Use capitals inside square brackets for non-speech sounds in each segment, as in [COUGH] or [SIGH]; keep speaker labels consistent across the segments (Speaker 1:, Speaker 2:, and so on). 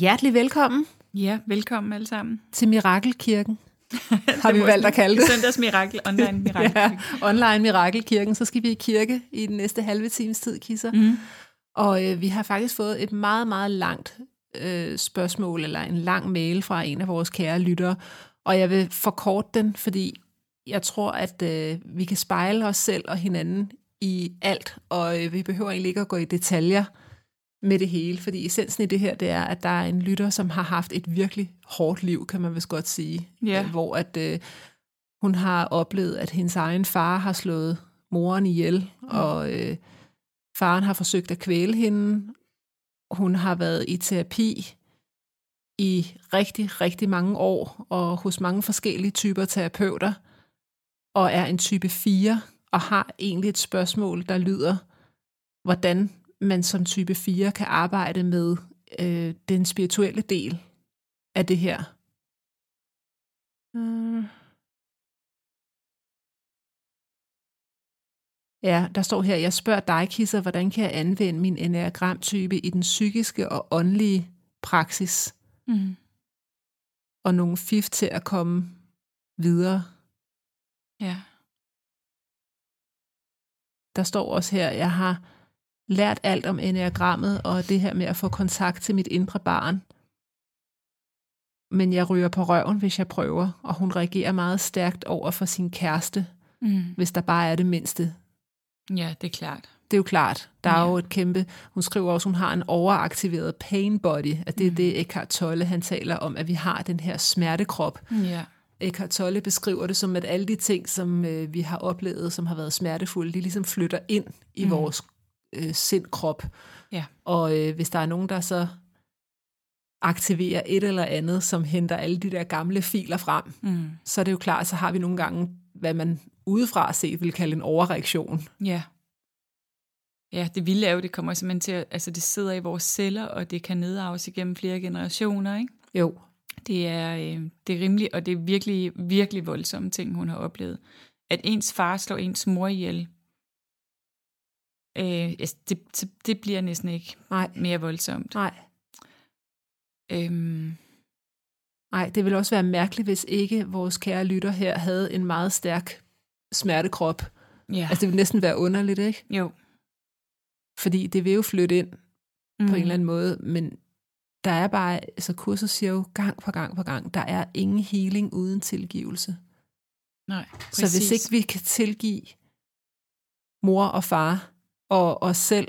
Speaker 1: Hjertelig velkommen
Speaker 2: Ja, velkommen alle sammen.
Speaker 1: til Mirakelkirken, har vi valgt at kalde det.
Speaker 2: Søndagsmirakel,
Speaker 1: [LAUGHS]
Speaker 2: online mirakel.
Speaker 1: Ja, online Mirakelkirken. Så skal vi i kirke i den næste halve times tid, Kisser.
Speaker 2: Mm.
Speaker 1: Og øh, vi har faktisk fået et meget, meget langt øh, spørgsmål, eller en lang mail fra en af vores kære lyttere. Og jeg vil forkorte den, fordi jeg tror, at øh, vi kan spejle os selv og hinanden i alt, og øh, vi behøver egentlig ikke at gå i detaljer med det hele, fordi essensen i det her, det er, at der er en lytter, som har haft et virkelig hårdt liv, kan man vist godt sige,
Speaker 2: Ja.
Speaker 1: Øh, hvor at øh, hun har oplevet, at hendes egen far har slået moren ihjel, og øh, faren har forsøgt at kvæle hende, hun har været i terapi i rigtig, rigtig mange år, og hos mange forskellige typer terapeuter, og er en type 4, og har egentlig et spørgsmål, der lyder, hvordan man som type 4 kan arbejde med øh, den spirituelle del af det her. Øh. Ja, der står her, jeg spørger dig, Kisser, hvordan kan jeg anvende min enagramtype i den psykiske og åndelige praksis,
Speaker 2: Mm.
Speaker 1: og nogle fif til at komme videre?
Speaker 2: Ja.
Speaker 1: Der står også her, jeg har lært alt om enagrammet og det her med at få kontakt til mit indre barn. Men jeg ryger på røven, hvis jeg prøver, og hun reagerer meget stærkt over for sin kæreste,
Speaker 2: Mm.
Speaker 1: hvis der bare er det mindste.
Speaker 2: ja, det er klart.
Speaker 1: Det er jo klart, der er
Speaker 2: Ja.
Speaker 1: jo et kæmpe... Hun skriver også, hun har en overaktiveret pain body, at det er
Speaker 2: Mm.
Speaker 1: det, Eckhart Tolle han taler om, at vi har den her smertekrop,
Speaker 2: Ja.
Speaker 1: Eckhart Tolle beskriver det som, at alle de ting, som øh, vi har oplevet, som har været smertefulde, de ligesom flytter ind i
Speaker 2: Mm.
Speaker 1: mm. vores øh, sindkrop.
Speaker 2: Ja.
Speaker 1: Og øh, hvis der er nogen, der så aktiverer et eller andet, som henter alle de der gamle filer frem,
Speaker 2: Mm.
Speaker 1: så er det jo klart, så har vi nogle gange, hvad man udefra set vil kalde en overreaktion.
Speaker 2: Ja. Ja, det vilde er jo, det kommer simpelthen til at, altså det sidder i vores celler, og det kan nedarves igennem flere generationer, ikke?
Speaker 1: Jo.
Speaker 2: Det er, øh, det er rimeligt, og det er virkelig, virkelig voldsomme ting, hun har oplevet. At ens far slår ens mor ihjel, øh, altså, det, det, det bliver næsten ikke
Speaker 1: Nej.
Speaker 2: mere voldsomt.
Speaker 1: Nej.
Speaker 2: Øhm,
Speaker 1: Nej, det ville også være mærkeligt, hvis ikke vores kære lytter her havde en meget stærk smertekrop.
Speaker 2: ja,
Speaker 1: Altså, det ville næsten være underligt, ikke?
Speaker 2: jo.
Speaker 1: Fordi det vil jo flytte ind
Speaker 2: Mm.
Speaker 1: på en eller anden måde, men der er bare, altså kurset siger jo gang på gang på gang, der er ingen healing uden tilgivelse.
Speaker 2: Nej, præcis.
Speaker 1: Så hvis ikke vi kan tilgive mor og far og os selv,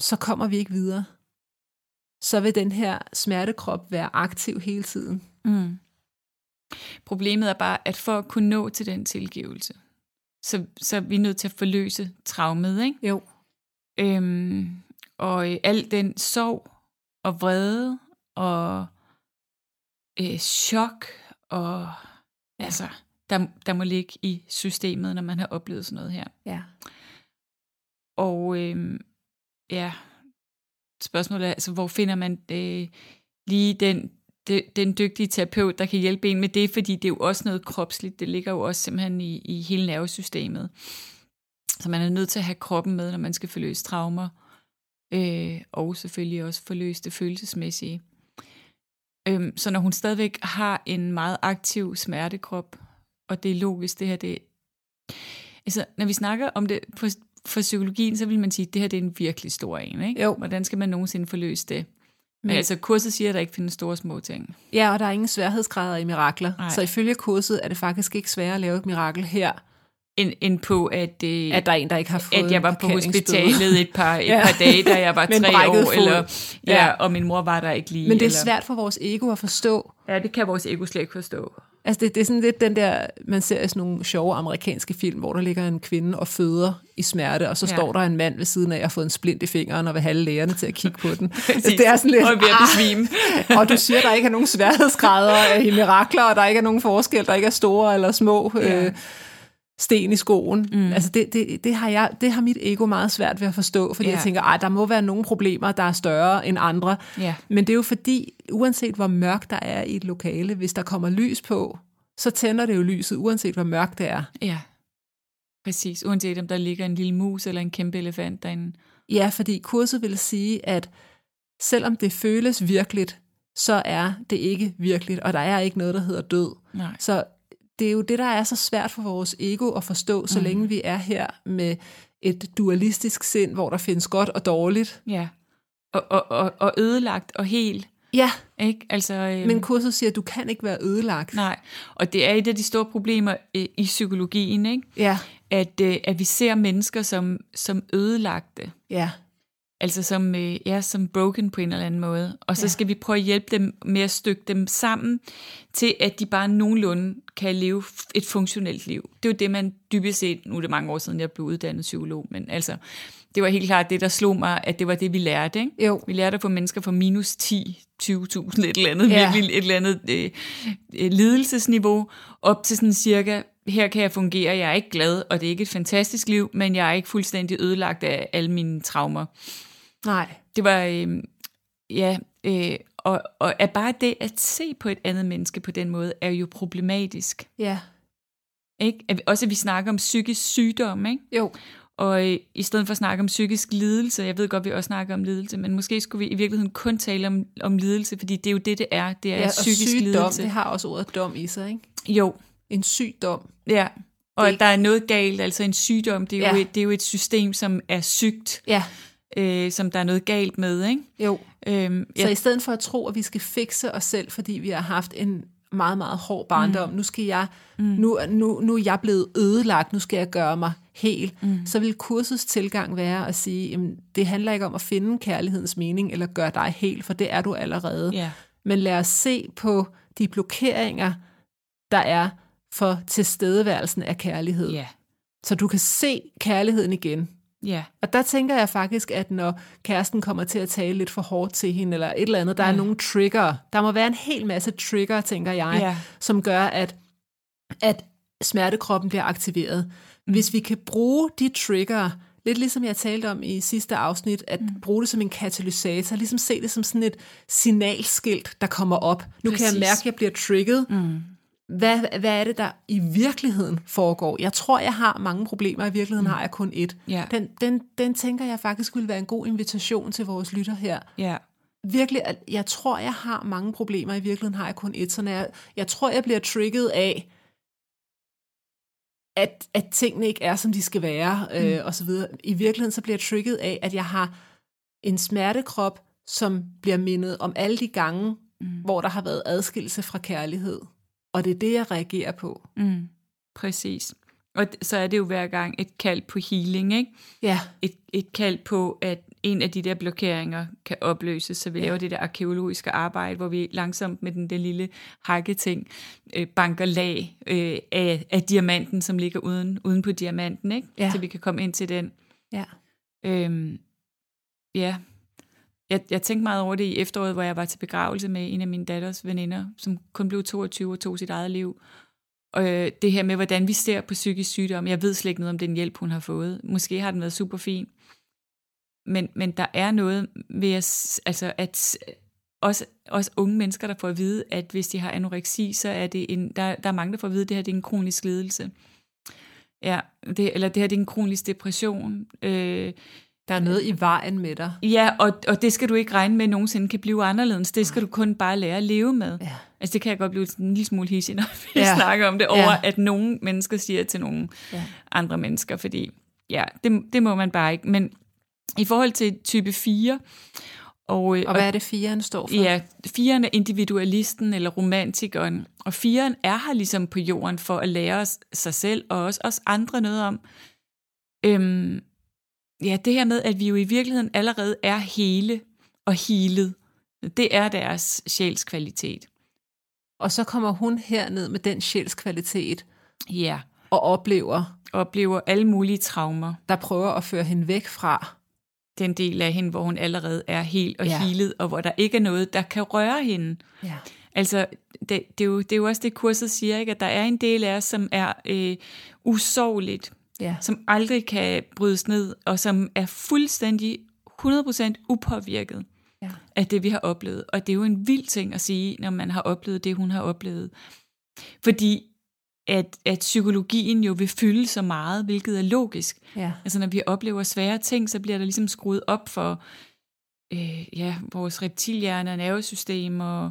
Speaker 1: så kommer vi ikke videre. Så vil den her smertekrop være aktiv hele tiden.
Speaker 2: Mm. Problemet er bare, at for at kunne nå til den tilgivelse, så, så er vi nødt til at forløse traumet, ikke?
Speaker 1: Jo.
Speaker 2: Øhm, og øh, al den sorg og vrede og øh, chok og altså, der, der må ligge i systemet, når man har oplevet sådan noget her.
Speaker 1: Ja.
Speaker 2: Og øh, ja, spørgsmålet er, altså, hvor finder man øh, lige den, de, den dygtige terapeut, der kan hjælpe en med det, fordi det er jo også noget kropsligt, det ligger jo også simpelthen i, i hele nervesystemet. Så man er nødt til at have kroppen med, når man skal forløse traumer, øh, og selvfølgelig også forløse det følelsesmæssige. Øhm, så når hun stadigvæk har en meget aktiv smertekrop, og det er logisk, det her det, Altså, når vi snakker om det for, for psykologien, så vil man sige, at det her det er en virkelig stor en. Ikke?
Speaker 1: Jo.
Speaker 2: Hvordan skal man nogensinde forløse det? Men altså, kurset siger, at der ikke findes store små ting.
Speaker 1: Ja, og der er ingen sværhedsgrader i mirakler.
Speaker 2: Nej.
Speaker 1: Nej. Så ifølge kurset er det faktisk ikke sværere at lave et mirakel her,
Speaker 2: End, end på, at, øh,
Speaker 1: at der er en, der ikke har fået
Speaker 2: at jeg var
Speaker 1: en
Speaker 2: på
Speaker 1: parkeringsbøde.
Speaker 2: hospitalet et par, et
Speaker 1: [LAUGHS] Ja.
Speaker 2: par dage, da jeg var
Speaker 1: Med en
Speaker 2: tre
Speaker 1: brækket
Speaker 2: år,
Speaker 1: fod.
Speaker 2: eller, ja,
Speaker 1: Ja.
Speaker 2: og min mor var der ikke lige.
Speaker 1: Men det
Speaker 2: eller,
Speaker 1: er svært for vores ego at forstå.
Speaker 2: Ja, det kan vores ego slet ikke forstå.
Speaker 1: Altså [LAUGHS] det, det er sådan lidt den der, man ser i sådan nogle sjove amerikanske film, hvor der ligger en kvinde og føder i smerte, og så
Speaker 2: Ja.
Speaker 1: ja. står der en mand ved siden af og har fået en splint i fingeren og vil have lægerne til at kigge på [LAUGHS] den. altså, det er sådan lidt,
Speaker 2: Og er ved at
Speaker 1: "Ah!"
Speaker 2: besvime.
Speaker 1: [LAUGHS] og du siger, der ikke er nogen sværhedsgrader i mirakler, og der ikke er nogen forskel, der ikke er store eller små
Speaker 2: Ja.
Speaker 1: ja. øh, sten i skoen. Mm. Altså det, det, det, har jeg, det har mit ego meget svært ved at forstå, fordi
Speaker 2: Ja.
Speaker 1: ja. jeg tænker, at der må være nogle problemer, der er større end andre.
Speaker 2: Ja.
Speaker 1: Men det er jo fordi, uanset hvor mørkt der er i et lokale, hvis der kommer lys på, så tænder det jo lyset, uanset hvor mørkt det er.
Speaker 2: Ja, præcis. Uanset om der ligger en lille mus eller en kæmpe elefant derinde.
Speaker 1: Ja, fordi kurset vil sige, at selvom det føles virkeligt, så er det ikke virkeligt, og der er ikke noget, der hedder død.
Speaker 2: Nej.
Speaker 1: Så det er jo det, der er så svært for vores ego at forstå, så
Speaker 2: Mm.
Speaker 1: mm. længe vi er her med et dualistisk sind, hvor der findes godt og dårligt.
Speaker 2: Ja. Og, og, og, og ødelagt og hel.
Speaker 1: Ja,
Speaker 2: Ikke? Altså, øhm,
Speaker 1: men kurset siger, at du kan ikke være ødelagt.
Speaker 2: Nej, og det er et af de store problemer øh, i psykologien, ikke?
Speaker 1: Ja,
Speaker 2: At, øh, at vi ser mennesker som, som ødelagte,
Speaker 1: ja,
Speaker 2: altså som, øh, ja, som broken på en eller anden måde. Og så ja.
Speaker 1: Ja.
Speaker 2: skal vi prøve at hjælpe dem med at stykke dem sammen til, at de bare nogenlunde kan leve f- et funktionelt liv. Det er jo det, man dybest set, nu er det mange år siden, jeg blev uddannet psykolog, men altså, det var helt klart det, der slog mig, at det var det, vi lærte, ikke?
Speaker 1: jo.
Speaker 2: Vi lærte at få mennesker fra minus 10, 20.000, et eller andet, ja.
Speaker 1: Ja.
Speaker 2: virkelig et eller andet øh, øh, lidelsesniveau, op til sådan cirka, her kan jeg fungere, jeg er ikke glad, og det er ikke et fantastisk liv, men jeg er ikke fuldstændig ødelagt af alle mine traumer.
Speaker 1: Nej,
Speaker 2: Det var, øh, ja, øh, og, og at bare det at se på et andet menneske på den måde, er jo problematisk.
Speaker 1: ja,
Speaker 2: Ikke? At vi, også at vi snakker om psykisk sygdom, ikke?
Speaker 1: jo.
Speaker 2: Og øh, i stedet for at snakke om psykisk lidelse, jeg ved godt, vi også snakker om lidelse, men måske skulle vi i virkeligheden kun tale om, om lidelse, fordi det er jo det, det er. Det er
Speaker 1: Ja,
Speaker 2: ja,
Speaker 1: og
Speaker 2: psykisk
Speaker 1: sygdom,
Speaker 2: lidelse.
Speaker 1: det har også ordet dom i sig, ikke?
Speaker 2: Jo,
Speaker 1: En sygdom.
Speaker 2: ja. Og
Speaker 1: Det-
Speaker 2: at der er noget galt, altså en sygdom, det er, jo,
Speaker 1: Ja.
Speaker 2: et, det er jo et system, som er sygt,
Speaker 1: Ja,
Speaker 2: øh, som der er noget galt med, ikke?
Speaker 1: jo.
Speaker 2: Øhm,
Speaker 1: Så
Speaker 2: ja,
Speaker 1: i stedet for at tro, at vi skal fikse os selv, fordi vi har haft en meget, meget hård barndom, mm. nu skal jeg, mm. nu, nu, nu er jeg blevet ødelagt, nu skal jeg gøre mig hel, mm. så vil kursets tilgang være at sige, jamen, det handler ikke om at finde kærlighedens mening, eller gøre dig hel, for det er du allerede.
Speaker 2: ja,
Speaker 1: Men lad os se på de blokeringer, der er for tilstedeværelsen af kærlighed.
Speaker 2: ja,
Speaker 1: Så du kan se kærligheden igen.
Speaker 2: ja,
Speaker 1: Og der tænker jeg faktisk, at når kæresten kommer til at tale lidt for hårdt til hende, eller et eller andet, der
Speaker 2: Ja.
Speaker 1: er nogle trigger. Der må være en hel masse trigger, tænker jeg,
Speaker 2: Ja.
Speaker 1: som gør, at, at smertekroppen bliver aktiveret.
Speaker 2: Mm.
Speaker 1: Hvis vi kan bruge de trigger, lidt ligesom jeg talte om i sidste afsnit, at
Speaker 2: Mm.
Speaker 1: bruge det som en katalysator, ligesom se det som sådan et signalskilt, der kommer op. Nu Præcis. kan
Speaker 2: Præcis.
Speaker 1: jeg mærke, at jeg bliver trigget. Mm. Hvad, hvad er det, der i virkeligheden foregår? Jeg tror, jeg har mange problemer, i virkeligheden har jeg kun et.
Speaker 2: Ja.
Speaker 1: Den, den, den tænker jeg faktisk ville være en god invitation til vores lytter her
Speaker 2: ja,
Speaker 1: virkelig, at jeg tror, jeg har mange problemer. I virkeligheden har jeg kun et. Så når jeg, jeg tror, jeg bliver trigget af, at, at tingene ikke er, som de skal være, øh, og så videre. I virkeligheden så bliver jeg trigget af, at jeg har en smertekrop, som bliver mindet om alle de gange, mm. hvor der har været adskillelse fra kærlighed. Og det er det, jeg reagerer på.
Speaker 2: mm, præcis. Og d- så er det jo hver gang et kald på healing, ikke?
Speaker 1: Ja,
Speaker 2: et, et kald på, at en af de der blokeringer kan opløses, så vi laver det der arkeologiske arbejde, hvor vi langsomt med den der lille hakketing øh, banker lag øh, af, af diamanten, som ligger uden, uden på diamanten, ikke?
Speaker 1: Ja.
Speaker 2: så vi kan komme ind til den.
Speaker 1: ja.
Speaker 2: Øhm, ja. Jeg, jeg tænkte meget over det i efteråret, hvor jeg var til begravelse med en af mine datters veninder, som kun blev 22 og tog sit eget liv. Og øh, det her med, hvordan vi ser på psykisk sygdom. Jeg ved slet ikke noget om den hjælp, hun har fået. Måske har den været super fin. Men, men der er noget ved at, s- altså at s- også, også unge mennesker, der får at vide, at hvis de har anoreksi, så er det en, der, der er mange, der får at vide, at det her det er en kronisk lidelse. Ja, det, eller det her det er en kronisk depression. Øh,
Speaker 1: Der er noget i vejen med dig.
Speaker 2: Ja, og, og det skal du ikke regne med nogensinde kan blive anderledes. Det skal du kun bare lære at leve med.
Speaker 1: Ja.
Speaker 2: Altså det kan jeg godt blive sådan en lille smule hissig, når vi ja.
Speaker 1: Ja.
Speaker 2: snakker om det, over ja.
Speaker 1: Ja.
Speaker 2: at nogle mennesker siger til nogle ja.
Speaker 1: Ja.
Speaker 2: andre mennesker, fordi ja, det, det må man bare ikke. Men i forhold til type 4, Og, øh,
Speaker 1: Og hvad er det, firen står for?
Speaker 2: Ja, firen er individualisten eller romantikeren, og firen er her ligesom på jorden for at lære os sig selv og også os andre noget om. Øhm, ja, det her med, at vi jo i virkeligheden allerede er hele og healet, det er deres sjælskvalitet.
Speaker 1: Og så kommer hun herned med den sjælskvalitet
Speaker 2: Ja,
Speaker 1: og oplever,
Speaker 2: oplever alle mulige traumer.
Speaker 1: der prøver at føre hende væk fra.
Speaker 2: Den del af hende, hvor hun allerede er helt og
Speaker 1: Ja.
Speaker 2: ja. healet, og hvor der ikke er noget, der kan røre hende.
Speaker 1: Ja.
Speaker 2: Altså, det, det, er jo, det er jo også det, kurset siger, ikke? at der er en del af os, som er øh, usårligt,
Speaker 1: ja.
Speaker 2: som aldrig kan brydes ned, og som er fuldstændig 100% upåvirket
Speaker 1: Ja.
Speaker 2: af det, vi har oplevet. Og det er jo en vild ting at sige, når man har oplevet det, hun har oplevet. Fordi at, at psykologien jo vil fylde så meget, hvilket er logisk.
Speaker 1: ja.
Speaker 2: Altså når vi oplever svære ting, så bliver der ligesom skruet op for øh, ja, vores reptilhjerne og nervesystem og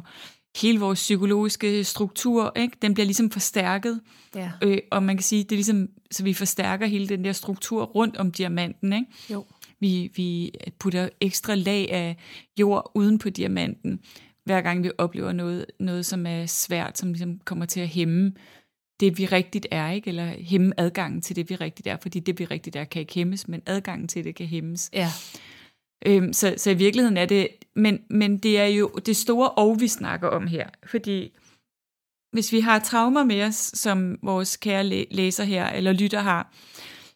Speaker 2: hele vores psykologiske struktur. Ikke? Den bliver ligesom forstærket,
Speaker 1: ja.
Speaker 2: øh, og man kan sige, det er ligesom, så vi forstærker hele den der struktur rundt om diamanten. Ikke?
Speaker 1: Jo.
Speaker 2: Vi, vi putter ekstra lag af jord uden på diamanten, hver gang vi oplever noget, noget som er svært, som ligesom kommer til at hæmme det, vi rigtigt er, ikke? eller hæmme adgangen til det, vi rigtigt er, fordi det, vi rigtigt er, kan ikke hæmmes, men adgangen til det kan hæmmes.
Speaker 1: Ja.
Speaker 2: Øhm, så, så i virkeligheden er det, men, men det er jo det store og, vi snakker om her, fordi hvis vi har traumer med os, som vores kære læ- læser her, eller lytter har,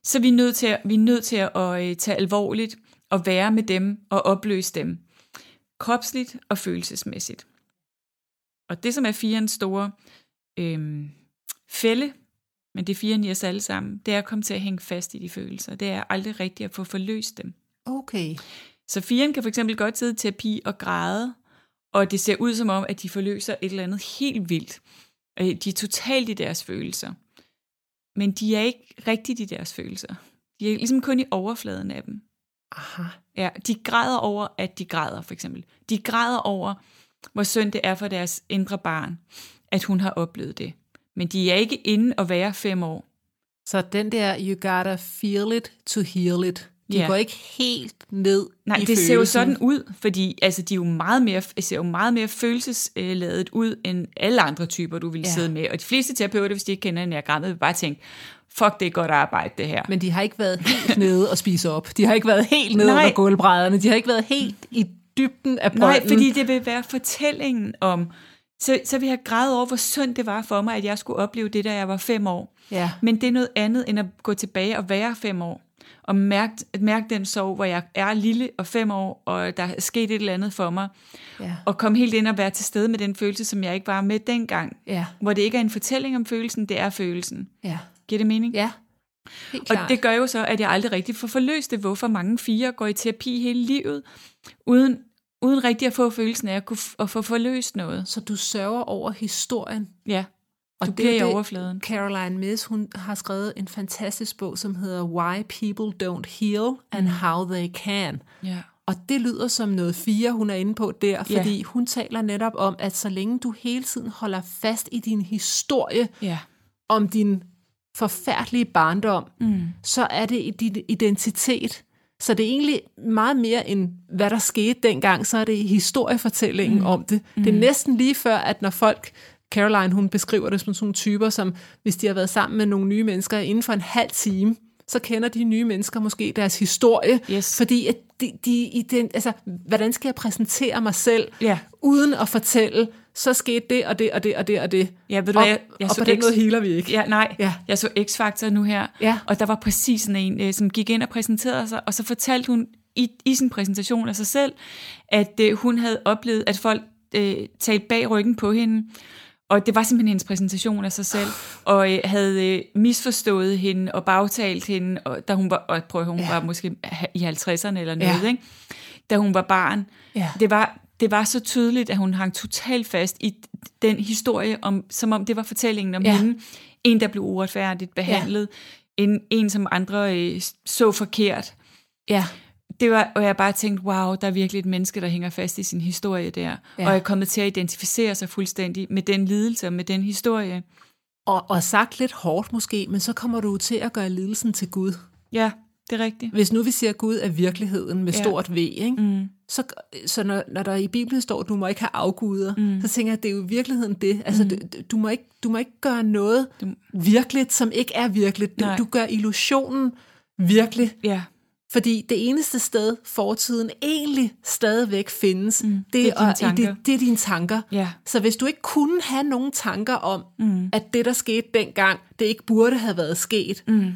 Speaker 2: så er vi nødt til at, vi er nødt til at øh, tage alvorligt og være med dem og opløse dem, kropsligt og følelsesmæssigt. Og det, som er firens store øhm, fælde, men det er firen i os alle sammen, det er at komme til at hænge fast i de følelser. Det er aldrig rigtigt at få forløst dem.
Speaker 1: Okay.
Speaker 2: Så firen kan for eksempel godt sidde i terapi og græde, og det ser ud som om, at de forløser et eller andet helt vildt. Øh, De er totalt i deres følelser. Men de er ikke rigtigt i deres følelser. De er ligesom kun i overfladen af dem.
Speaker 1: Aha.
Speaker 2: Ja, de græder over, at de græder, for eksempel. De græder over, hvor synd det er for deres indre barn, at hun har oplevet det. Men de er ikke inde og være fem år.
Speaker 1: Så den der, you gotta feel it to heal it. De
Speaker 2: Ja.
Speaker 1: går ikke helt ned
Speaker 2: Nej,
Speaker 1: i
Speaker 2: det
Speaker 1: følelsen.
Speaker 2: ser jo sådan ud, fordi altså, de er jo meget mere, ser jo meget mere følelsesladet ud, end alle andre typer, du vil
Speaker 1: Ja.
Speaker 2: ja. sidde med. Og de fleste terapeuter, hvis de ikke kender diagrammet, vil bare tænke, fuck, det er godt arbejde, det her. Men,
Speaker 1: Men de har ikke været helt [LAUGHS] nede og spise op. De har ikke været helt nede
Speaker 2: Nej.
Speaker 1: under gulvbrædderne. De har ikke været helt i dybden af brønden.
Speaker 2: Nej, fordi det vil være fortællingen om, så, så vil jeg græde over, hvor synd det var for mig, at jeg skulle opleve det, da jeg var fem år.
Speaker 1: Ja,
Speaker 2: Men det er noget andet, end at gå tilbage og være fem år. Og mærke, at mærke den sorg, hvor jeg er lille og fem år, og der er sket et eller andet for mig.
Speaker 1: ja,
Speaker 2: Og komme helt ind og være til stede med den følelse, som jeg ikke var med dengang.
Speaker 1: ja,
Speaker 2: hvor det ikke er en fortælling om følelsen, det er følelsen.
Speaker 1: ja.
Speaker 2: Giver det mening?
Speaker 1: ja. Helt
Speaker 2: og
Speaker 1: klart.
Speaker 2: det gør jo så, at jeg aldrig rigtig får forløst det, hvorfor mange fire går i terapi hele livet, uden, uden rigtig at få følelsen af at, kunne f- at få forløst noget.
Speaker 1: Så du sørger over historien.
Speaker 2: Ja,
Speaker 1: Og
Speaker 2: du
Speaker 1: det
Speaker 2: bliver
Speaker 1: er
Speaker 2: i
Speaker 1: det-
Speaker 2: overfladen.
Speaker 1: Caroline Miss, hun har skrevet en fantastisk bog, som hedder Why People Don't Heal and
Speaker 2: Mm.
Speaker 1: How They Can.
Speaker 2: Ja.
Speaker 1: Og det lyder som noget fire, hun er inde på der,
Speaker 2: Ja.
Speaker 1: fordi hun taler netop om, at så længe du hele tiden holder fast i din historie
Speaker 2: ja.
Speaker 1: om din forfærdelige barndom,
Speaker 2: Mm.
Speaker 1: så er det i din identitet. Så det er egentlig meget mere end, hvad der skete dengang, så er det historiefortællingen mm. om det. Mm. Det er næsten lige før, at når folk, Caroline hun beskriver det som sådan nogle typer, som hvis de har været sammen med nogle nye mennesker inden for en halv time, så kender de nye mennesker måske deres historie,
Speaker 2: Yes.
Speaker 1: fordi at de, de i den, altså, hvordan skal jeg præsentere mig selv,
Speaker 2: Ja.
Speaker 1: uden at fortælle, så skete det og det og det og det og det.
Speaker 2: Ja, ved du
Speaker 1: og,
Speaker 2: hvad, jeg- jeg
Speaker 1: og
Speaker 2: så
Speaker 1: på den
Speaker 2: X-
Speaker 1: måde healer vi ikke.
Speaker 2: Ja, nej.
Speaker 1: Ja.
Speaker 2: Ja. Jeg så X-Factor nu her,
Speaker 1: Ja.
Speaker 2: og der var præcis sådan en, øh, som gik ind og præsenterede sig, og så fortalte hun i, i sin præsentation af sig selv, at øh, hun havde oplevet, at folk øh, talte bag ryggen på hende, og det var simpelthen hendes præsentation af sig selv, og øh, havde øh, misforstået hende og bagtalt hende, og, da hun var, og prøv, at høre, hun
Speaker 1: Ja.
Speaker 2: ja. var måske i 50'erne eller
Speaker 1: Ja.
Speaker 2: noget, ikke? da hun var barn.
Speaker 1: Ja.
Speaker 2: Det, var, det var så tydeligt, at hun hang totalt fast i den historie, om, som om det var fortællingen om
Speaker 1: Ja.
Speaker 2: ja. hende. En, der blev uretfærdigt behandlet. Ja. En, en, som andre øh, så forkert.
Speaker 1: Ja.
Speaker 2: Det var, og jeg bare tænkte, wow, der er virkelig et menneske, der hænger fast i sin historie der.
Speaker 1: Ja.
Speaker 2: Ja. Og er kommet til at identificere sig fuldstændig med den lidelse og med den historie.
Speaker 1: Og, og sagt lidt hårdt måske, men så kommer du til at gøre lidelsen til Gud.
Speaker 2: Ja, det er rigtigt.
Speaker 1: Hvis nu vi siger, at Gud er virkeligheden med ja.
Speaker 2: Ja.
Speaker 1: stort V, ikke? Mm. så, så når, når der i Bibelen står, du må ikke have afguder,
Speaker 2: Mm.
Speaker 1: mm. så tænker jeg, at det er jo i virkeligheden det. Altså,
Speaker 2: Mm.
Speaker 1: mm. du, du, må ikke, du må ikke gøre noget
Speaker 2: Du-
Speaker 1: du... virkeligt, som ikke er virkeligt. Du,
Speaker 2: Nej.
Speaker 1: du gør illusionen virkelig.
Speaker 2: Ja,
Speaker 1: Fordi det eneste sted, fortiden egentlig stadigvæk findes,
Speaker 2: Mm,
Speaker 1: mm,
Speaker 2: det er
Speaker 1: det,
Speaker 2: dine
Speaker 1: det, er og, i
Speaker 2: tanker.
Speaker 1: det, det er dine tanker.
Speaker 2: ja.
Speaker 1: Så hvis du ikke kunne have nogen tanker om,
Speaker 2: Mm.
Speaker 1: at det, der skete dengang, det ikke burde have været sket,
Speaker 2: Mm.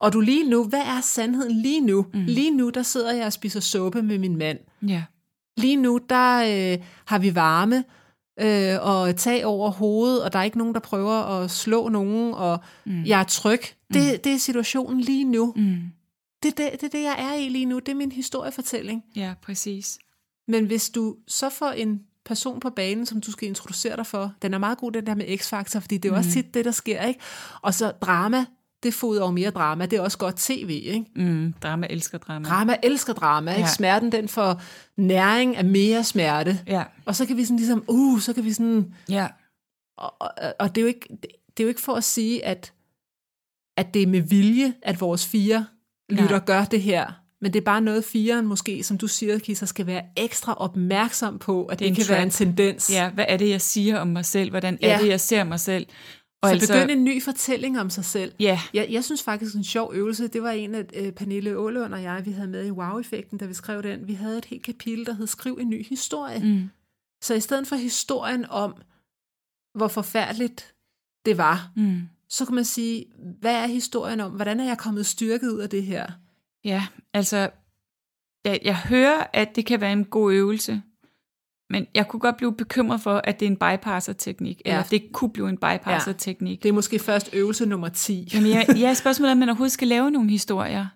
Speaker 1: og du lige nu, hvad er sandheden lige nu? Mm. Lige nu, der sidder jeg og spiser suppe med min mand.
Speaker 2: Ja.
Speaker 1: Lige nu, der øh, har vi varme øh, og tag over hovedet, og der er ikke nogen, der prøver at slå nogen, og
Speaker 2: Mm.
Speaker 1: mm. jeg er tryg. Det, det er situationen lige nu.
Speaker 2: Mm.
Speaker 1: Det er det, det, er det, jeg er i lige nu. Det er min historiefortælling.
Speaker 2: Ja, præcis.
Speaker 1: Men hvis du så får en person på banen, som du skal introducere dig for, den er meget god, den der med x-faktor, fordi det er jo også tit det, der sker, ikke? Og så drama, det fodrer over mere drama. Det er også godt tv, ikke?
Speaker 2: Mm. Drama elsker drama.
Speaker 1: Drama elsker drama, ikke?
Speaker 2: Ja.
Speaker 1: Smerten, den får næring af mere smerte.
Speaker 2: Ja,
Speaker 1: Og så kan vi sådan ligesom, uh, så kan vi sådan...
Speaker 2: ja.
Speaker 1: Og, og, og det, er jo ikke, det er jo ikke for at sige, at, at det er med vilje, at vores fire
Speaker 2: Nej.
Speaker 1: lytter gør det her. Men det er bare noget, firen måske, som du siger, Kisser, skal være ekstra opmærksom på, at
Speaker 2: Det er
Speaker 1: det,
Speaker 2: en
Speaker 1: det kan være en
Speaker 2: trap.
Speaker 1: tendens.
Speaker 2: Ja, hvad er det, jeg siger om mig selv? Hvordan er
Speaker 1: Ja.
Speaker 2: det, jeg ser mig selv?
Speaker 1: Og så altså, begynd en ny fortælling om sig selv.
Speaker 2: Ja,
Speaker 1: Jeg, jeg synes faktisk, en sjov øvelse, det var en, at øh, Pernille Ålund og jeg, vi havde med i Wow-effekten, da vi skrev den. Vi havde et helt kapitel, der hed Skriv en ny historie.
Speaker 2: mm.
Speaker 1: Så i stedet for historien om, hvor forfærdeligt det var,
Speaker 2: Mm.
Speaker 1: så kan man sige, hvad er historien om? Hvordan er jeg kommet styrket ud af det her?
Speaker 2: ja altså, jeg, jeg hører, at det kan være en god øvelse, men jeg kunne godt blive bekymret for, at det er en bypasser-teknik, ja.
Speaker 1: Ja.
Speaker 2: eller det kunne blive en bypasser-teknik.
Speaker 1: Det er måske først øvelse nummer 10.
Speaker 2: Jamen, jeg, ja, spørgsmålet er, om man overhovedet skal lave nogle historier.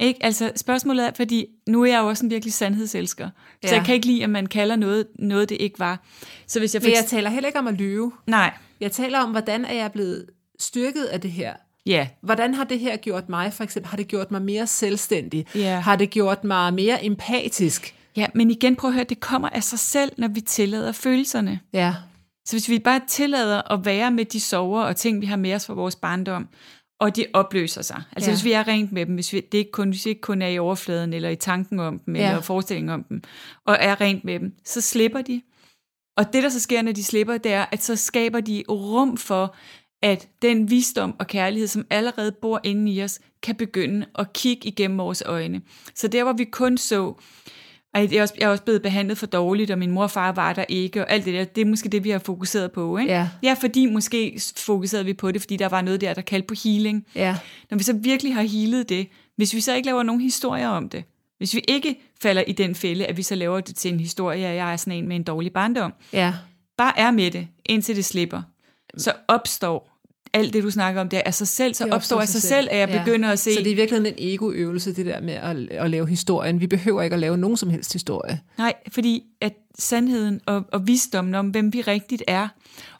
Speaker 2: Ikke? Altså, spørgsmålet er, fordi nu er jeg jo også en virkelig sandhedselsker, ja. så
Speaker 1: Ja.
Speaker 2: jeg kan ikke lide, at man kalder noget, noget det ikke var. Så hvis jeg fik...
Speaker 1: Men jeg taler heller ikke om at lyve.
Speaker 2: Nej,
Speaker 1: Jeg taler om, hvordan er jeg blevet styrket af det her?
Speaker 2: ja,
Speaker 1: Hvordan har det her gjort mig, for eksempel? Har det gjort mig mere selvstændig?
Speaker 2: Ja.
Speaker 1: Har det gjort mig mere empatisk?
Speaker 2: Ja, men igen, prøv at høre, det kommer af sig selv, når vi tillader følelserne.
Speaker 1: Ja.
Speaker 2: Så hvis vi bare tillader at være med de sover og ting, vi har med os fra vores barndom, og de opløser sig. Altså ja.
Speaker 1: Ja.
Speaker 2: hvis vi er rent med dem, hvis vi, det ikke kun, hvis vi ikke kun er i overfladen, eller i tanken om dem,
Speaker 1: Ja.
Speaker 2: eller forestillingen om dem, og er rent med dem, så slipper de. Og det, der så sker, når de slipper, det er, at så skaber de rum for, at den visdom og kærlighed, som allerede bor inde i os, kan begynde at kigge igennem vores øjne. Så der, hvor vi kun så, ej, det er også, jeg er også blevet behandlet for dårligt, og min mor og far var der ikke, og alt det der, det er måske det, vi har fokuseret på, ikke?
Speaker 1: Ja.
Speaker 2: ja, fordi måske s- fokuserede vi på det, fordi der var noget der, der kaldte på healing.
Speaker 1: Ja.
Speaker 2: Når vi så virkelig har healet det, hvis vi så ikke laver nogen historier om det, hvis vi ikke falder i den fælde, at vi så laver det til en historie, at jeg er sådan en med en dårlig barndom,
Speaker 1: Ja.
Speaker 2: bare er med det, indtil det slipper, så opstår alt det, du snakker om der af sig selv, så
Speaker 1: Det
Speaker 2: opstår af sig selv, at jeg
Speaker 1: Ja.
Speaker 2: begynder at se,
Speaker 1: Så det er i virkeligheden en egoøvelse, det der med at, at lave historien. Vi behøver ikke at lave nogen som helst historie.
Speaker 2: Nej, fordi at sandheden og, og visdommen om, hvem vi rigtigt er,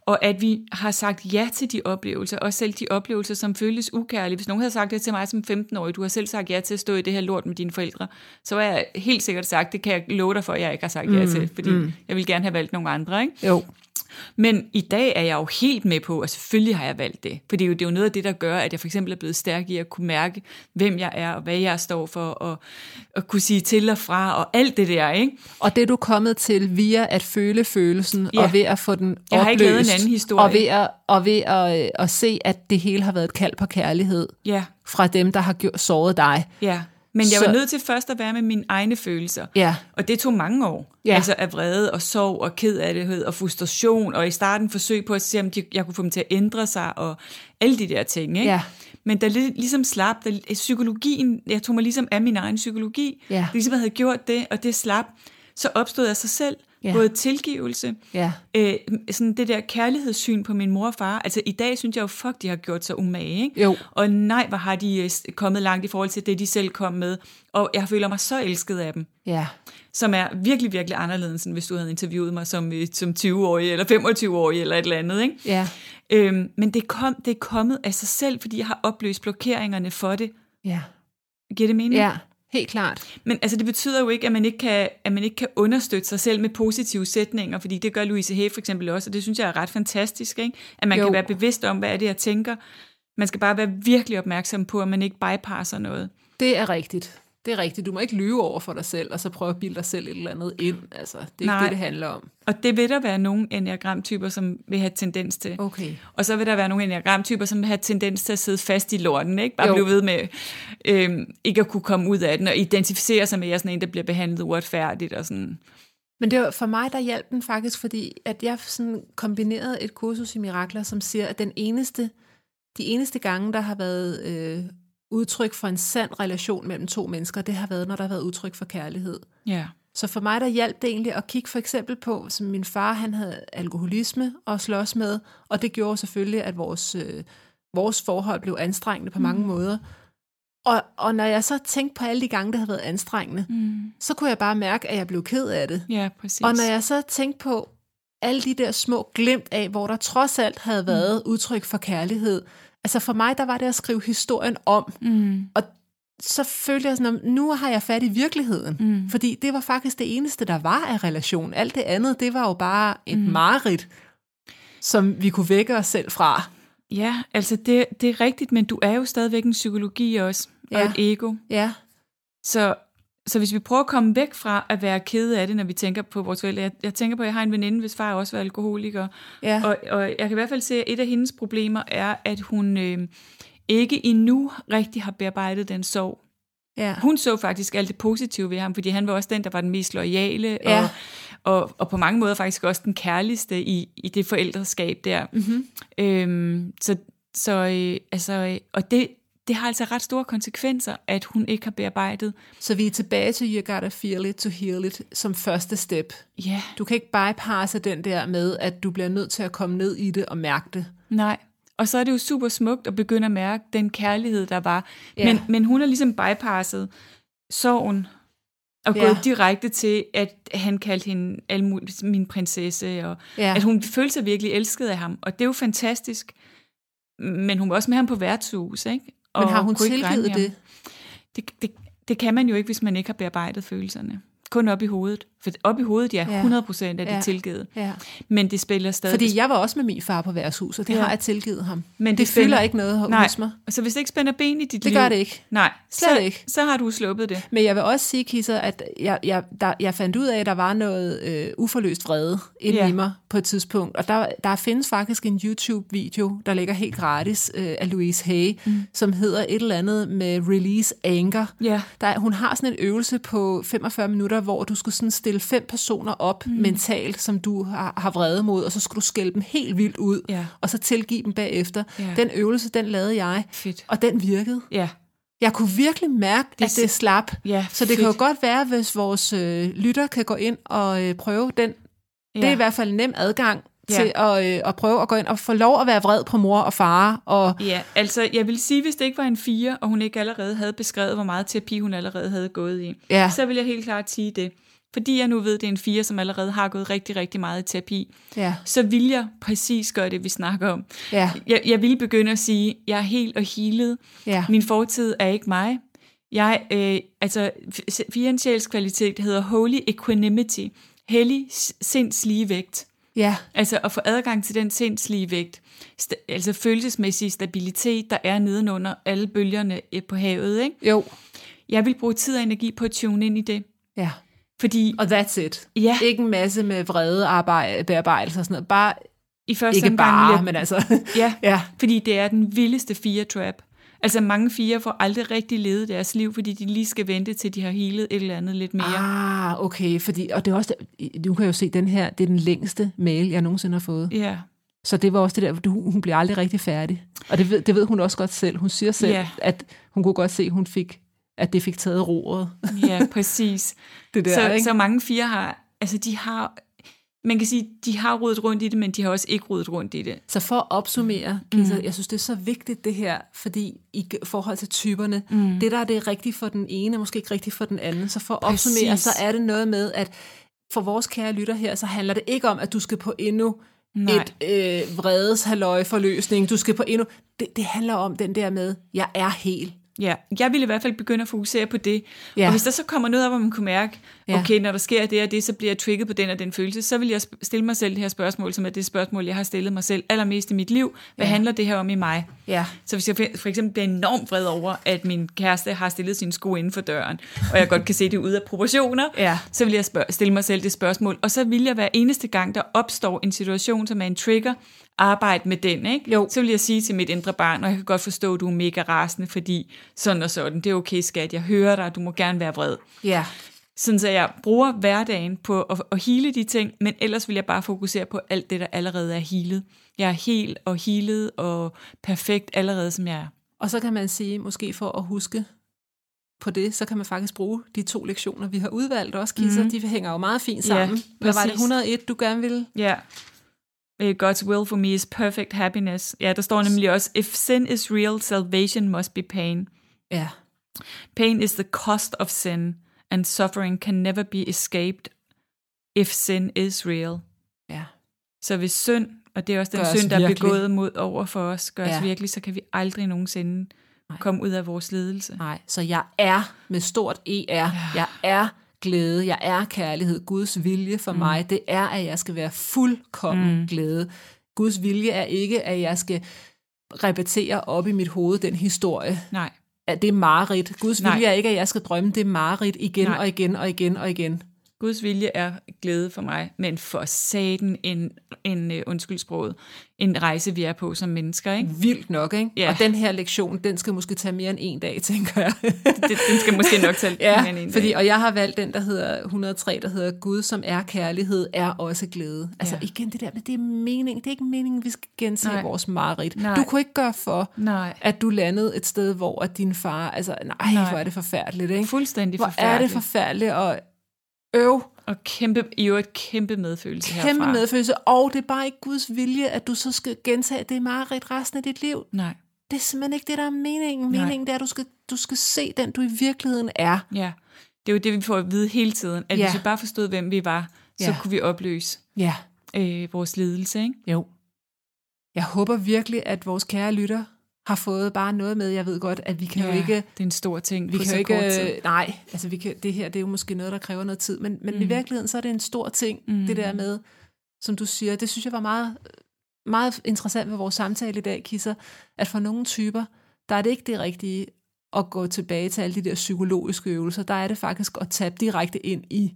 Speaker 2: og at vi har sagt ja til de oplevelser, og selv de oplevelser, som føles ukærlige. Hvis nogen havde sagt det til mig som 15-årig, du har selv sagt ja til at stå i det her lort med dine forældre, så var jeg helt sikkert sagt, det kan jeg love dig for, at jeg ikke har sagt mm, ja til, fordi mm. jeg ville gerne have valgt nogle andre. Ikke?
Speaker 1: Jo.
Speaker 2: Men i dag er jeg jo helt med på, og selvfølgelig har jeg valgt det. For det er jo, det er jo noget af det, der gør, at jeg for eksempel er blevet stærk i at kunne mærke, hvem jeg er, og hvad jeg står for, og, og kunne sige til og fra, og alt det der, ikke?
Speaker 1: Og det er du kommet til via at føle følelsen,
Speaker 2: Ja.
Speaker 1: ja. og ved at få den
Speaker 2: Jeg
Speaker 1: opløst.
Speaker 2: har ikke lavet en anden historie.
Speaker 1: Og ved, at, og ved at, øh, at se, at det hele har været et kald på kærlighed
Speaker 2: Ja,
Speaker 1: fra dem, der har gjort, såret dig.
Speaker 2: Ja, men jeg
Speaker 1: Så-
Speaker 2: var nødt til først at være med mine egne følelser.
Speaker 1: Ja.
Speaker 2: Og det tog mange år.
Speaker 1: Ja.
Speaker 2: Altså af vrede og sorg og kedelighed og frustration, og i starten forsøg på at se, om de, jeg kunne få dem til at ændre sig, og alle de der ting. Ikke?
Speaker 1: Ja.
Speaker 2: Men der ligesom slap, der, psykologien, jeg tog mig ligesom af min egen psykologi,
Speaker 1: Ja.
Speaker 2: ligesom jeg havde gjort det, og det slap, så opstod af sig selv,
Speaker 1: Ja.
Speaker 2: både tilgivelse,
Speaker 1: Ja.
Speaker 2: øh, sådan det der kærlighedssyn på min mor og far. Altså i dag synes jeg jo, fuck, de har gjort sig umage, ikke?
Speaker 1: Jo.
Speaker 2: Og nej, hvor har de øh, s- kommet langt i forhold til det, de selv kom med. Og jeg føler mig så elsket af dem,
Speaker 1: Ja.
Speaker 2: som er virkelig, virkelig anderledes, end hvis du havde interviewet mig som, øh, som 20-årig eller 25-årig eller et eller andet, ikke?
Speaker 1: Ja.
Speaker 2: Øhm, men det, kom, det er kommet af sig selv, fordi jeg har opløst blokeringerne for det.
Speaker 1: Ja.
Speaker 2: Giver det mening?
Speaker 1: Ja. Helt klart.
Speaker 2: Men altså, det betyder jo ikke, at man ikke, kan, at man ikke kan understøtte sig selv med positive sætninger, fordi det gør Louise Hay for eksempel også, og det synes jeg er ret fantastisk, ikke? at man jo.
Speaker 1: Jo.
Speaker 2: kan være bevidst om, hvad er det, jeg tænker. Man skal bare være virkelig opmærksom på, at man ikke bypasser noget.
Speaker 1: Det er rigtigt. det er rigtigt, du må ikke lyve over for dig selv, og så prøve at bilde dig selv et eller andet ind. Altså, det er ikke
Speaker 2: Nej.
Speaker 1: det, det handler om.
Speaker 2: Og det vil der være nogle enneagramtyper, som vil have tendens til.
Speaker 1: Okay.
Speaker 2: Og så vil der være nogle enneagramtyper, som vil have tendens til at sidde fast i lorten, ikke? Bare
Speaker 1: Jo.
Speaker 2: jo. blive ved med øhm, ikke at kunne komme ud af den, og identificere sig med, at jeg er sådan en, der bliver behandlet uretfærdigt og sådan.
Speaker 1: Men det var for mig, der hjalp den faktisk, fordi at jeg sådan kombinerede et kursus i mirakler, som siger, at den eneste, de eneste gange, der har været øh, udtryk for en sand relation mellem to mennesker, det har været, når der har været udtryk for kærlighed.
Speaker 2: Ja,
Speaker 1: Så for mig, der hjalp det egentlig at kigge for eksempel på, som min far, han havde alkoholisme at slås med, og det gjorde selvfølgelig, at vores, øh, vores forhold blev anstrengende på mange måder. Og, og når jeg så tænkte på alle de gange, der havde været anstrengende,
Speaker 2: mm.
Speaker 1: så kunne jeg bare mærke, at jeg blev ked af det.
Speaker 2: ja præcis.
Speaker 1: Og når jeg så tænkte på alle de der små glimt af, hvor der trods alt havde været udtryk for kærlighed, altså for mig, der var det at skrive historien om,
Speaker 2: mm.
Speaker 1: så følte jeg sådan, at nu har jeg fat i virkeligheden.
Speaker 2: Mm.
Speaker 1: Fordi det var faktisk det eneste, der var af relation. Alt det andet, det var jo bare et mm. mareridt, som vi kunne vække os selv fra.
Speaker 2: Ja, altså det, det er rigtigt, men du er jo stadigvæk en psykologi også, og
Speaker 1: Ja.
Speaker 2: et ego.
Speaker 1: Ja,
Speaker 2: Så, så hvis vi prøver at komme væk fra at være kede af det, når vi tænker på vores forældre. Jeg, jeg tænker på, at jeg har en veninde, hvis far også var alkoholiker.
Speaker 1: ja,
Speaker 2: Og, og jeg kan i hvert fald se, at et af hendes problemer er, at hun øh, ikke endnu rigtig har bearbejdet den sorg.
Speaker 1: ja.
Speaker 2: Hun så faktisk alt det positive ved ham, fordi han var også den, der var den mest lojale,
Speaker 1: Ja.
Speaker 2: og, og, og på mange måder faktisk også den kærligste i, i det forældreskab der.
Speaker 1: Mm-hmm.
Speaker 2: Øhm, så, så øh, altså, øh, og det, det har altså ret store konsekvenser, at hun ikke har bearbejdet.
Speaker 1: Så vi er tilbage til You Gotta Feel It to Heal It som første step.
Speaker 2: Ja,
Speaker 1: Du kan ikke bypasse den der med, at du bliver nødt til at komme ned i det og mærke det.
Speaker 2: nej. Og så er det jo super smukt at begynde at mærke den kærlighed, der var.
Speaker 1: Ja.
Speaker 2: Ja. Men, men hun har ligesom bypasset sorgen og
Speaker 1: Ja.
Speaker 2: gået direkte til, at han kaldte hende alle mulige- min prinsesse, og
Speaker 1: Ja.
Speaker 2: ja. at hun følte sig virkelig elsket af ham. Og det er jo fantastisk. Men hun var også med ham på værtshus, ikke? Og
Speaker 1: Men har hun
Speaker 2: kunne ikke regne
Speaker 1: tilgivet
Speaker 2: med ham.
Speaker 1: det?
Speaker 2: det, det, det kan man jo ikke, hvis man ikke har bearbejdet følelserne. Kun op i hovedet. For op i hovedet, ja,
Speaker 1: Ja.
Speaker 2: 100 procent er det
Speaker 1: Ja.
Speaker 2: ja. tilgivet.
Speaker 1: Ja.
Speaker 2: Men det spiller stadig.
Speaker 1: Fordi jeg var også med min far på værtshus, og det ja.
Speaker 2: Ja.
Speaker 1: har jeg tilgivet ham.
Speaker 2: Men
Speaker 1: det,
Speaker 2: det
Speaker 1: fylder
Speaker 2: spænder-
Speaker 1: ikke noget
Speaker 2: Nej,
Speaker 1: hos mig.
Speaker 2: så hvis det ikke spænder ben i dit
Speaker 1: Det
Speaker 2: liv...
Speaker 1: gør det ikke.
Speaker 2: Nej,
Speaker 1: Slet
Speaker 2: så,
Speaker 1: ikke.
Speaker 2: så har du sluppet det.
Speaker 1: Men jeg vil også sige, Kisser, at jeg, jeg, der, jeg fandt ud af, at der var noget øh, uforløst vrede inde
Speaker 2: Ja.
Speaker 1: i mig på et tidspunkt. Og der, der findes faktisk en YouTube-video, der ligger helt gratis øh, af Louise Hay, mm. som hedder et eller andet med Release Anger.
Speaker 2: Ja.
Speaker 1: Der, er- hun har sådan en øvelse på 45 minutter, hvor du skulle sådan stille fem personer op mm. mentalt, som du har, har vrede mod, og så skulle du skælde dem helt vildt ud,
Speaker 2: Ja.
Speaker 1: og så tilgive dem bagefter.
Speaker 2: Ja.
Speaker 1: Den øvelse, den lavede jeg,
Speaker 2: Fedt.
Speaker 1: og den virkede.
Speaker 2: Ja,
Speaker 1: Jeg kunne virkelig mærke, det
Speaker 2: er
Speaker 1: at det
Speaker 2: så-
Speaker 1: slap.
Speaker 2: Altså, ja
Speaker 1: Så det
Speaker 2: fedt.
Speaker 1: kan jo godt være, hvis vores øh, lytter kan gå ind og øh, prøve den. Ja.
Speaker 2: Ja.
Speaker 1: Det er i hvert fald en nem adgang ja.
Speaker 2: Ja.
Speaker 1: til at, øh, at prøve at gå ind og få lov at være vred på mor og far. Og,
Speaker 2: Ja, altså jeg vil sige, hvis det ikke var en fire, og hun ikke allerede havde beskrevet, hvor meget terapi hun allerede havde gået i,
Speaker 1: ja,
Speaker 2: så vil jeg helt klart sige det. Fordi jeg nu ved, det er en fire, som allerede har gået rigtig, rigtig meget i terapi,
Speaker 1: ja,
Speaker 2: så vil jeg præcis gøre det, vi snakker om.
Speaker 1: ja,
Speaker 2: Jeg, jeg ville begynde at sige, jeg er helt og healet.
Speaker 1: ja,
Speaker 2: Min fortid er ikke mig. Jeg, øh, altså, f- firens sjælskvalitet hedder holy equanimity. Hellig s- sindslige vægt.
Speaker 1: ja,
Speaker 2: Altså at få adgang til den sindslige vægt. St- altså følelsesmæssig stabilitet, der er nedenunder alle bølgerne øh, på havet. Ikke?
Speaker 1: jo,
Speaker 2: Jeg vil bruge tid og energi på at tune ind i det.
Speaker 1: ja.
Speaker 2: Fordi
Speaker 1: Og that's it.
Speaker 2: ja,
Speaker 1: Ikke en masse med vrede arbejde, bearbejdelse og sådan noget. Bare,
Speaker 2: i første
Speaker 1: ikke
Speaker 2: omgang... vil
Speaker 1: bare,
Speaker 2: jeg,
Speaker 1: men altså. [LAUGHS]
Speaker 2: ja,
Speaker 1: ja,
Speaker 2: Fordi det er den vildeste fire-trap. Altså mange fire får aldrig rigtig levet deres liv, fordi de lige skal vente til de har helet et eller andet lidt mere.
Speaker 1: Ah, okay, fordi, og det er også, du kan jo se den her, det er den længste mail, jeg nogensinde har fået.
Speaker 2: Ja,
Speaker 1: Så det var også det der, du- hun bliver aldrig rigtig færdig. Og det ved, det ved hun også godt selv. Hun siger selv,
Speaker 2: Ja.
Speaker 1: at hun kunne godt se, hun fik, at det fik taget roret. [LAUGHS]
Speaker 2: ja præcis.
Speaker 1: Det der,
Speaker 2: så,
Speaker 1: ikke?
Speaker 2: så mange fire har, altså de har, man kan sige, de har rodet rundt i det, men de har også ikke rodet rundt i det.
Speaker 1: Så for at opsummere, Kisa, jeg synes, det er så vigtigt det her, fordi i g- forhold til typerne, mm. det der er det er rigtigt for den ene, er måske ikke rigtigt for den anden. Så for at opsummere,
Speaker 2: Præcis.
Speaker 1: så er det noget med, at for vores kære lytter her, så handler det ikke om, at du skal på endnu
Speaker 2: Nej.
Speaker 1: et øh, vredeshaløje for løsning. Du skal på endnu... Det, det handler om den der med, jeg er hel.
Speaker 2: Ja, jeg ville i hvert fald begynde at fokusere på det. Ja.
Speaker 1: Ja.
Speaker 2: Og hvis der så kommer noget op, hvor man kunne mærke,
Speaker 1: Ja.
Speaker 2: okay, når der sker det og det, så bliver jeg trigget på den og den følelse, så vil jeg sp- stille mig selv det her spørgsmål, som er det spørgsmål, jeg har stillet mig selv allermest i mit liv. Hvad ja. handler det her om i mig?
Speaker 1: Ja.
Speaker 2: Så hvis jeg for- for eksempel bliver enormt vred over, at min kæreste har stillet sine sko inden for døren, og jeg godt kan se det ud af proportioner,
Speaker 1: Ja.
Speaker 2: så vil jeg spørg- stille mig selv det spørgsmål. Og så vil jeg hver eneste gang, der opstår en situation, som er en trigger, arbejde med den, ikke?
Speaker 1: Jo.
Speaker 2: Så vil jeg sige til mit indre barn, og jeg kan godt forstå, at du er mega rasende, fordi sådan og sådan, det er okay skat, jeg hører dig, du må gerne være vred.
Speaker 1: Ja.
Speaker 2: Sådan så jeg bruger hverdagen på at, at hele de ting, men ellers vil jeg bare fokusere på alt det, der allerede er healet. Jeg er helt og healet og perfekt allerede, som jeg er.
Speaker 1: Og så kan man sige, måske for at huske på det, så kan man faktisk bruge de to lektioner, vi har udvalgt også, Kisser. Mm. De hænger jo meget fint
Speaker 2: Ja,
Speaker 1: sammen. Ja, Hvad var det,
Speaker 2: præcis.
Speaker 1: 101, du gerne ville?
Speaker 2: Ja. Yeah. Øh, God's will for me is perfect happiness. Ja, der står nemlig også, if sin is real, salvation must be pain.
Speaker 1: Ja.
Speaker 2: Pain is the cost of sin, and suffering can never be escaped if sin is real.
Speaker 1: Ja.
Speaker 2: Så hvis synd, og det er også den
Speaker 1: Gør os
Speaker 2: synd, der er
Speaker 1: virkelig.
Speaker 2: begået mod over for os, gør ja.
Speaker 1: Ja.
Speaker 2: os virkelig, så kan vi aldrig nogensinde
Speaker 1: Nej.
Speaker 2: komme ud af vores ledelse.
Speaker 1: Nej, så jeg er med stort ER. Jeg er glæde, jeg er kærlighed. Guds vilje for mm. mig, det er, at jeg skal være fuldkommen mm. glæde. Guds vilje er ikke, at jeg skal repetere op i mit hoved den historie,
Speaker 2: Nej.
Speaker 1: at det er mareridt. Guds
Speaker 2: Nej.
Speaker 1: vilje er ikke, at jeg skal drømme det mareridt igen
Speaker 2: Nej.
Speaker 1: og igen og igen og igen.
Speaker 2: Guds vilje er glæde for mig, men for satan en, en øh, undskyld sproget, en rejse, vi er på som mennesker. Ikke?
Speaker 1: Vildt nok, ikke?
Speaker 2: Ja.
Speaker 1: Og den her lektion, den skal måske tage mere end en dag, [LAUGHS] tænker jeg.
Speaker 2: Det, den skal måske nok tage
Speaker 1: [LAUGHS] ja,
Speaker 2: mere end en
Speaker 1: fordi,
Speaker 2: dag.
Speaker 1: og jeg har valgt den, der hedder 103, der hedder Gud, som er kærlighed, er også glæde. Altså
Speaker 2: Ja.
Speaker 1: igen, det der med, det er mening. Det er ikke meningen, vi skal gense
Speaker 2: Nej.
Speaker 1: vores mareridt.
Speaker 2: Nej.
Speaker 1: Du kunne ikke gøre for,
Speaker 2: Nej.
Speaker 1: at du landede et sted, hvor at din far, altså nej,
Speaker 2: Nej.
Speaker 1: nej. hvor er det forfærdeligt, ikke?
Speaker 2: Fuldstændig
Speaker 1: Hvor er det
Speaker 2: forfærdeligt.
Speaker 1: forfærdeligt, og øv,
Speaker 2: Og kæmpe, i øvrigt kæmpe medfølelse herfra.
Speaker 1: kæmpe medfølelse, og det er bare ikke Guds vilje, at du så skal gentage det mareridt resten af dit liv.
Speaker 2: Nej,
Speaker 1: Det er simpelthen ikke det, der er meningen.
Speaker 2: Nej.
Speaker 1: Meningen det er, at du skal, du skal se den, du i virkeligheden er.
Speaker 2: ja. Det er jo det, vi får at vide hele tiden, at ja.
Speaker 1: Ja.
Speaker 2: hvis vi bare forstod, hvem vi var, så
Speaker 1: Ja.
Speaker 2: kunne vi opløse
Speaker 1: Ja,
Speaker 2: øh, vores lidelse, ikke?
Speaker 1: jo. Jeg håber virkelig, at vores kære lytter har fået bare noget med. Jeg ved godt, at vi kan ja. jo ikke...
Speaker 2: det er en stor ting
Speaker 1: Vi
Speaker 2: på
Speaker 1: kan
Speaker 2: så
Speaker 1: jo
Speaker 2: kort tid.
Speaker 1: ikke, nej, altså vi kan, det her det er jo måske noget, der kræver noget tid, men, men mm. i virkeligheden så er det en stor ting, mm. det der med, som du siger, det synes jeg var meget, meget interessant ved vores samtale i dag, Kisser, at for nogle typer, der er det ikke det rigtige at gå tilbage til alle de der psykologiske øvelser, der er det faktisk at tabe direkte ind i,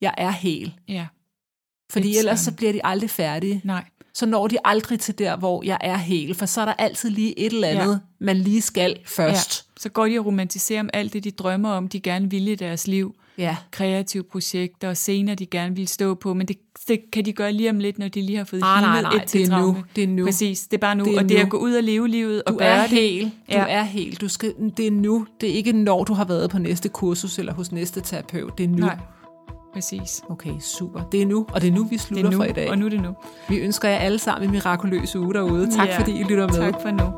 Speaker 1: jeg er hel,
Speaker 2: Ja,
Speaker 1: fordi
Speaker 2: Lidt
Speaker 1: ellers
Speaker 2: sådan.
Speaker 1: så bliver de aldrig færdige
Speaker 2: nej.
Speaker 1: så når de aldrig til der, hvor jeg er hel, for så er der altid lige et eller andet, ja. man lige skal først.
Speaker 2: Ja. Så går de og romantiserer om alt det, de drømmer om, de gerne ville i deres liv.
Speaker 1: Ja.
Speaker 2: Kreative projekter og scener, de gerne ville stå på, men det, det kan de gøre lige om lidt, når de lige har fået
Speaker 1: Ah, Nej, nej,
Speaker 2: healet
Speaker 1: nej,
Speaker 2: et til
Speaker 1: det er nu,
Speaker 2: traume.
Speaker 1: det er nu.
Speaker 2: Præcis, det er bare nu,
Speaker 1: Det er
Speaker 2: og det er
Speaker 1: nu.
Speaker 2: at gå ud og leve livet og
Speaker 1: Du
Speaker 2: bære
Speaker 1: er
Speaker 2: det.
Speaker 1: hel. Du
Speaker 2: Ja.
Speaker 1: er hel. Du skal, det er nu. Det er ikke når du har været på næste kursus eller hos næste terapeut. Det er nu.
Speaker 2: Nej, præcis.
Speaker 1: Okay, super. Det er nu, og det er nu, vi
Speaker 2: Det
Speaker 1: slutter
Speaker 2: er nu,
Speaker 1: for i dag.
Speaker 2: og nu er det nu.
Speaker 1: Vi ønsker jer alle sammen en mirakuløs uge derude. Tak
Speaker 2: Ja.
Speaker 1: fordi I lytter med.
Speaker 2: Tak for nu.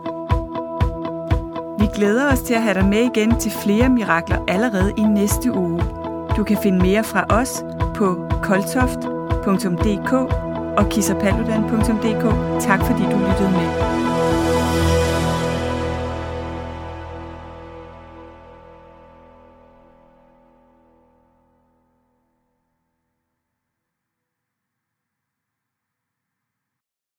Speaker 2: Vi glæder os til at have dig med igen til flere mirakler allerede i næste uge. Du kan finde mere fra os på koltoft.dk og kissapaludan.dk. Tak fordi du lyttede med.